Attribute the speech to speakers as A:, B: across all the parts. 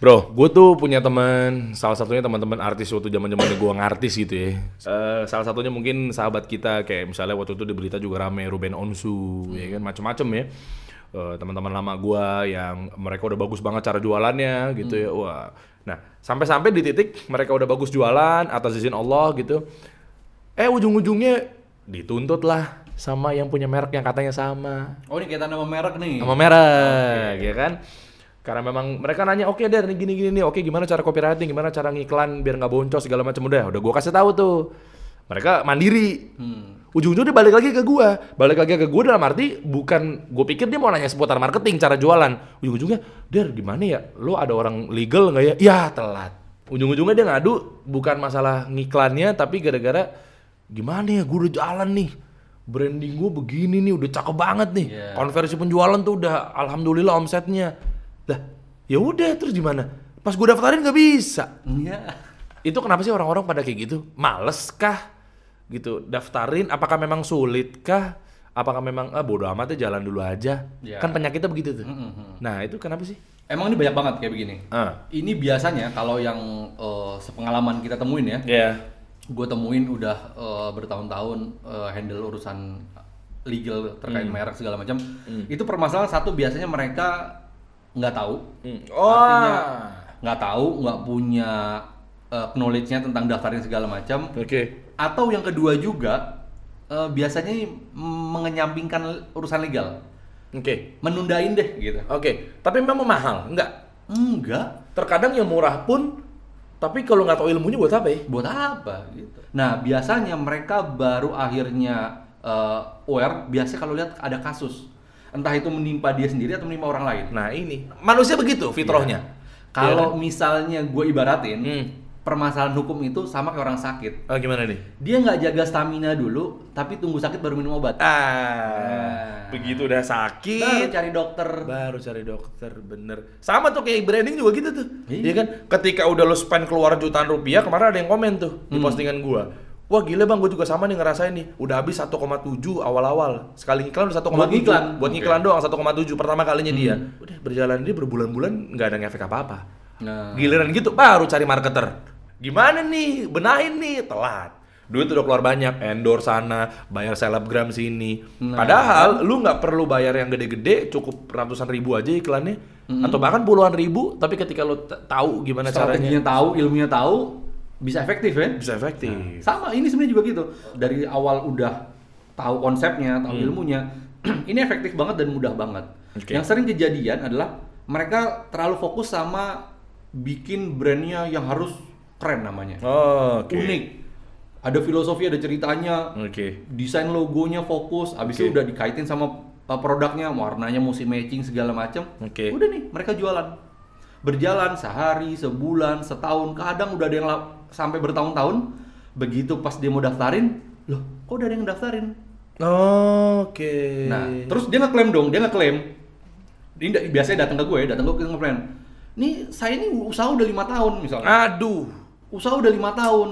A: Bro, gue tuh punya teman, salah satunya teman-teman artis waktu zaman zaman gue ngartis gitu ya. Eh, salah satunya mungkin sahabat kita kayak misalnya waktu itu di berita juga rame Ruben Onsu, ya kan macem-macem ya. Eh, teman-teman lama gue yang mereka udah bagus banget cara jualannya gitu ya. Wah, nah sampai-sampai di titik mereka udah bagus jualan atas izin Allah gitu. Eh ujung-ujungnya dituntut lah sama yang punya merek yang katanya sama
B: Oh ini kaitan sama merek nih.
A: sama merek ya kan karena memang mereka nanya oke deh nih gini gini nih oke gimana cara copywriting gimana cara ngiklan biar nggak boncos segala macam udah udah gua kasih tahu tuh mereka mandiri
B: Hmm.
A: ujung-ujungnya dia balik lagi ke gua balik lagi ke gua dalam arti bukan gue pikir dia mau nanya seputar marketing cara jualan ujung-ujungnya der gimana ya lo ada orang legal nggak ya ya telat ujung-ujungnya dia ngadu bukan masalah ngiklannya tapi gara-gara gimana ya gua udah jalan nih branding gua begini nih udah cakep banget nih
B: Iya.
A: konversi penjualan tuh udah alhamdulillah omsetnya lah ya udah terus gimana pas gue daftarin nggak bisa
B: Iya.
A: itu kenapa sih orang-orang pada kayak gitu males kah gitu daftarin apakah memang sulit kah apakah memang ah bodo amat ya jalan dulu aja
B: Ya.
A: kan penyakitnya begitu tuh
B: Mm-mm.
A: nah itu kenapa sih
B: Emang ini banyak banget kayak begini.
A: ah
B: Ini biasanya kalau yang eh, sepengalaman kita temuin ya,
A: ya
B: gue temuin udah eh, bertahun-tahun eh, handle urusan legal terkait merek segala macam. Itu permasalahan satu biasanya mereka nggak tahu, Mm.
A: Oh.
B: artinya nggak tahu, nggak punya eh, knowledge-nya tentang daftarin segala macam.
A: oke
B: Atau yang kedua juga eh, biasanya mengenyampingkan urusan legal,
A: oke
B: menundain deh gitu.
A: oke tapi memang mahal enggak
B: Enggak,
A: terkadang yang murah pun tapi kalau nggak tahu ilmunya buat apa ya
B: buat apa gitu. Nah, biasanya mereka baru akhirnya eh, aware, biasanya kalau lihat ada kasus. Entah itu menimpa dia sendiri atau menimpa orang lain.
A: nah ini manusia begitu fitrahnya
B: Kalau misalnya gue ibaratin,
A: Hmm.
B: permasalahan hukum itu sama kayak orang sakit.
A: Ah, gimana nih
B: Dia nggak jaga stamina dulu, tapi tunggu sakit baru minum obat.
A: Ah, begitu udah
B: Baru
A: sakit
B: cari dokter.
A: baru cari dokter bener sama tuh kayak branding juga gitu tuh
B: Iya.
A: Iya kan ketika udah lo spend keluar jutaan rupiah kemarin ada yang komen tuh di
B: Hmm.
A: postingan gua wah gila bang gua juga sama nih ngerasain nih udah habis 1,7 awal-awal sekali iklan udah 1,7
B: Buat ngiklan. Hmm.
A: buat ngiklan doang 1,7 pertama kalinya dia udah berjalan dia berbulan-bulan nggak ada ngefek apa-apa
B: Nah,
A: giliran gitu baru cari marketer gimana nih benahin nih telat duit udah keluar banyak endorse sana bayar selebgram sini
B: Nah.
A: padahal lu nggak perlu bayar yang gede-gede cukup ratusan ribu aja iklannya atau bahkan puluhan ribu tapi ketika lu t- tahu gimana caranya
B: strateginya tahu, ilmunya tahu, bisa efektif ya.
A: bisa efektif
B: sama ini sebenarnya juga gitu dari awal udah tahu konsepnya tahu ilmunya ini efektif banget dan mudah banget
A: Hmm. Oke.
B: yang sering kejadian adalah mereka terlalu fokus sama bikin brandnya yang harus keren namanya
A: oh, oke
B: unik ada filosofi ada ceritanya
A: oke
B: desain logonya fokus abis itu
A: Oke.
B: udah dikaitin sama uh, produknya warnanya mesti matching segala macam
A: Oke.
B: udah nih mereka jualan berjalan sehari sebulan setahun kadang udah ada yang la- sampai bertahun-tahun begitu pas dia mau daftarin loh kok udah ada yang daftarin
A: oke
B: nah terus dia ngeklaim dong dia ngeklaim ini da- biasanya datang ke gue datang ke gue ngeklaim nih saya ini usaha udah lima tahun misalnya
A: aduh
B: usaha udah lima tahun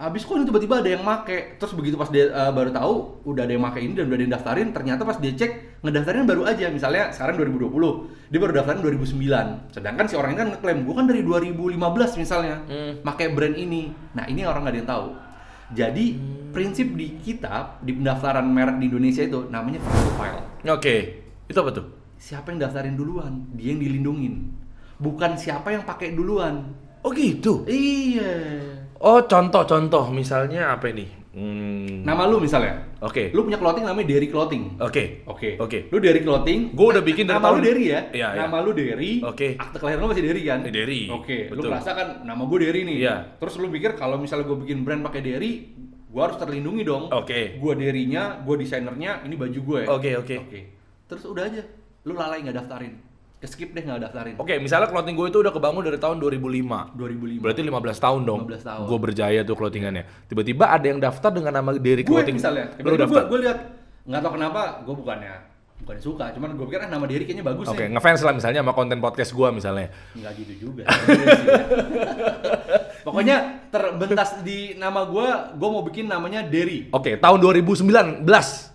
B: habis kok ini tiba-tiba ada yang make terus begitu pas dia eh, baru tahu udah ada yang make ini dan udah ada yang daftarin ternyata pas dia cek ngedaftarin baru aja misalnya sekarang 2020 dia baru daftarin 2009 sedangkan si orang ini kan ngeklaim gue kan dari 2015 misalnya
A: Hmm.
B: make brand ini nah ini orang nggak ada yang tahu jadi prinsip di kita di pendaftaran merek di Indonesia itu namanya profile
A: oke itu apa tuh
B: siapa yang daftarin duluan dia yang dilindungin bukan siapa yang pakai duluan
A: oh gitu
B: iya
A: oh contoh-contoh misalnya apa ini hmm.
B: nama lu misalnya
A: oke
B: Lu punya clothing namanya Derry Clothing.
A: oke
B: Oke.
A: Oke.
B: Lu Derry Clothing.
A: Gua udah bikin dari
B: nama
A: tahun-
B: lu Derry ya.
A: Iya, iya.
B: Nama lu Derry.
A: Oke.
B: Akte kelahiran lu masih Derry kan?
A: Eh, Derry.
B: Oke. Lu
A: Betul.
B: merasa kan nama gue Derry nih.
A: Iya.
B: Terus lu pikir kalau misalnya gue bikin brand pakai Derry, gue harus terlindungi dong.
A: Oke.
B: Gue Derrynya, gue desainernya, ini baju gue.
A: Oke, oke.
B: Terus udah aja, lu lalai nggak daftarin. Keskip deh nggak daftarin.
A: Oke, misalnya clothing gue itu udah kebangun dari tahun 2005.
B: 2005.
A: Berarti 15 tahun dong.
B: 15 tahun.
A: Gue berjaya tuh clothingannya. Tiba-tiba ada yang daftar dengan nama diri
B: gue
A: clothing.
B: misalnya,
A: Lu
B: gue
A: daftar.
B: gue lihat nggak tau kenapa, gue bukannya bukannya suka, cuman gue pikir ah nama Derry kayaknya bagus
A: Oke,
B: nih.
A: ngefans lah misalnya sama konten podcast gue misalnya.
B: Nggak gitu juga. Pokoknya terbentas di nama gua, gua mau bikin namanya Derry
A: Oke, tahun 2019,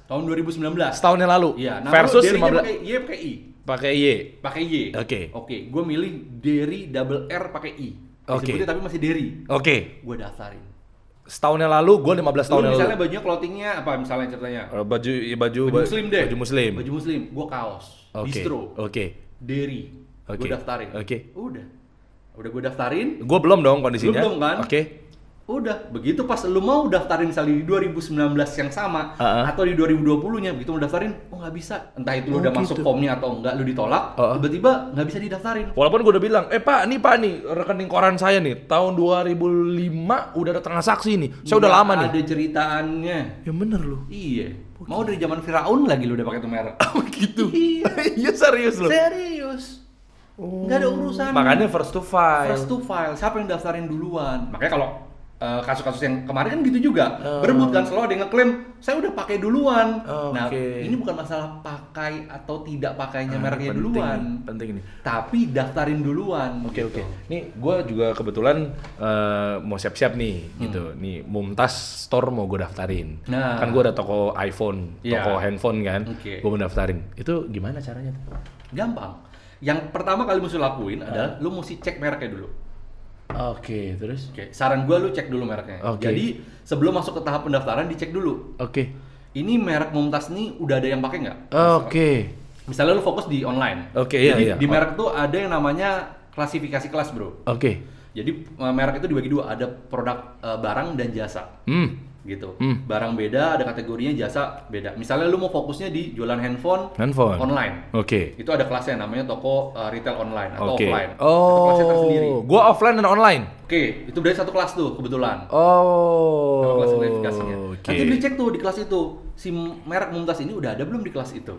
B: tahun 2019.
A: setahun yang lalu.
B: Iya, nama
A: versus
B: lu
A: 15.
B: Derry-nya pakai Y pakai I.
A: Pakai Y.
B: pakai Y.
A: Oke.
B: Oke, gue milih Derry double R pakai I.
A: Oke.
B: Disebutnya tapi masih Derry.
A: Oke.
B: Gue daftarin.
A: Setahun yang lalu, gue 15 tahun
B: Lu
A: yang
B: misalnya
A: lalu.
B: bajunya clothingnya apa misalnya ceritanya?
A: Eh, Baju, iya, baju,
B: Baju
A: ba-
B: muslim deh.
A: Baju muslim.
B: Baju muslim. Gue kaos.
A: Oke.
B: Distro.
A: Oke.
B: Derry.
A: Oke.
B: Gue daftarin.
A: Oke.
B: Udah. Udah gue daftarin.
A: Gue belum dong kondisinya.
B: Lu belum kan?
A: Oke.
B: Udah, begitu pas lu mau daftarin misalnya di 2019 yang sama
A: Ah, ah.
B: atau di 2020-nya begitu mau daftarin, oh nggak bisa. Entah itu
A: Oh,
B: lu udah
A: gitu.
B: masuk formnya atau enggak, lu ditolak,
A: Ah, ah.
B: tiba-tiba nggak bisa didaftarin.
A: Walaupun gue udah bilang, eh pak, nih pak nih rekening koran saya nih tahun 2005 udah ada transaksi nih. Saya udah
B: Nggak
A: lama nih. Oh,
B: Iya, Ada ceritaannya.
A: Ya bener lu.
B: Iya. Mau
A: gitu.
B: dari zaman Firaun lagi lu udah pakai tuh merek.
A: Begitu.
B: Iya.
A: Iya serius lu.
B: Serius. Nggak ada urusan.
A: Makanya first to file.
B: First to file, siapa yang daftarin duluan? Makanya kalau eh, kasus-kasus yang kemarin kan gitu juga
A: Eh.
B: berebut kan selalu ada yang ngeklaim saya udah pakai duluan.
A: Oh, Oke.
B: Nah ini bukan masalah pakai atau tidak pakainya
A: Ah,
B: mereknya
A: penting,
B: duluan,
A: Penting nih.
B: tapi daftarin duluan.
A: Oke
B: gitu.
A: oke. Nih gue juga kebetulan eh, mau siap-siap nih gitu. Nih Mumtaz Store mau gue daftarin.
B: Hmm. Nah.
A: Kan gue ada toko iPhone,
B: Iya.
A: toko handphone kan.
B: Oke.
A: Gue mau daftarin. Itu gimana caranya? tuh?
B: Gampang. Yang pertama kali mesti lu lakuin
A: Ah.
B: adalah lu mesti cek mereknya dulu.
A: Oke terus.
B: Oke. Saran gua lu cek dulu mereknya.
A: Oke.
B: Jadi sebelum masuk ke tahap pendaftaran dicek dulu.
A: Oke.
B: Ini merek Mumtaz nih udah ada yang pakai nggak?
A: Oke.
B: Misalnya lu fokus di online.
A: Oke, iya,
B: Jadi
A: iya.
B: Di merek tuh ada yang namanya klasifikasi kelas, Bro.
A: Oke.
B: Jadi eh, merek itu dibagi dua, ada produk eh, barang dan jasa
A: Hmm.
B: gitu.
A: Hmm.
B: Barang beda, ada kategorinya jasa beda. Misalnya lu mau fokusnya di jualan handphone,
A: Handphone.
B: online.
A: Oke.
B: Itu ada kelasnya namanya toko eh, retail online atau
A: Oke.
B: offline. Itu kelasnya tersendiri.
A: Oh. Gue offline dan online.
B: Oke, itu berarti satu kelas tuh kebetulan. Sama
A: Oh.
B: kelas klasifikasinya.
A: Oke.
B: Nanti lu cek tuh di kelas itu, si merek Mumtaz ini udah ada belum di kelas itu?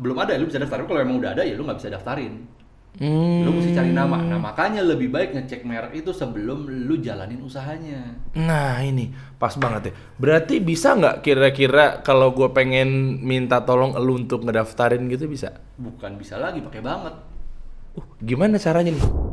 B: Belum ada, lu bisa daftarin. Kalau emang udah ada ya lu nggak bisa daftarin.
A: Hmm.
B: lu mesti cari nama. Nah, makanya lebih baik ngecek merek itu sebelum lu jalanin usahanya.
A: Nah ini pas banget ya. Berarti bisa nggak kira-kira kalau gue pengen minta tolong lu untuk ngedaftarin gitu bisa?
B: Bukan bisa lagi pakai banget.
A: Uh, gimana caranya nih?